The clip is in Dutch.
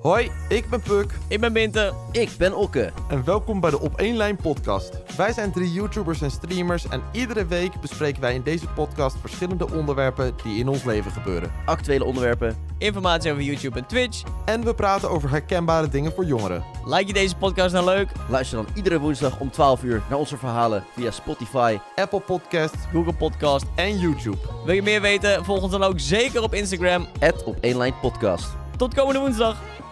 Hoi, ik ben Puk Ik ben Binte. Ik ben Okke. en welkom bij de Op één Lijn podcast. Wij zijn drie YouTubers en streamers en iedere week bespreken wij in deze podcast verschillende onderwerpen die in ons leven gebeuren. Actuele onderwerpen. Informatie over YouTube en Twitch. En we praten over herkenbare dingen voor jongeren. Like je deze podcast nou leuk? Luister dan iedere woensdag om 12 uur naar onze verhalen via Spotify. Apple Podcasts Google Podcast. en YouTube. Wil je meer weten? Volg ons dan ook zeker op Instagram. At op 1 lijn podcast. Tot komende woensdag.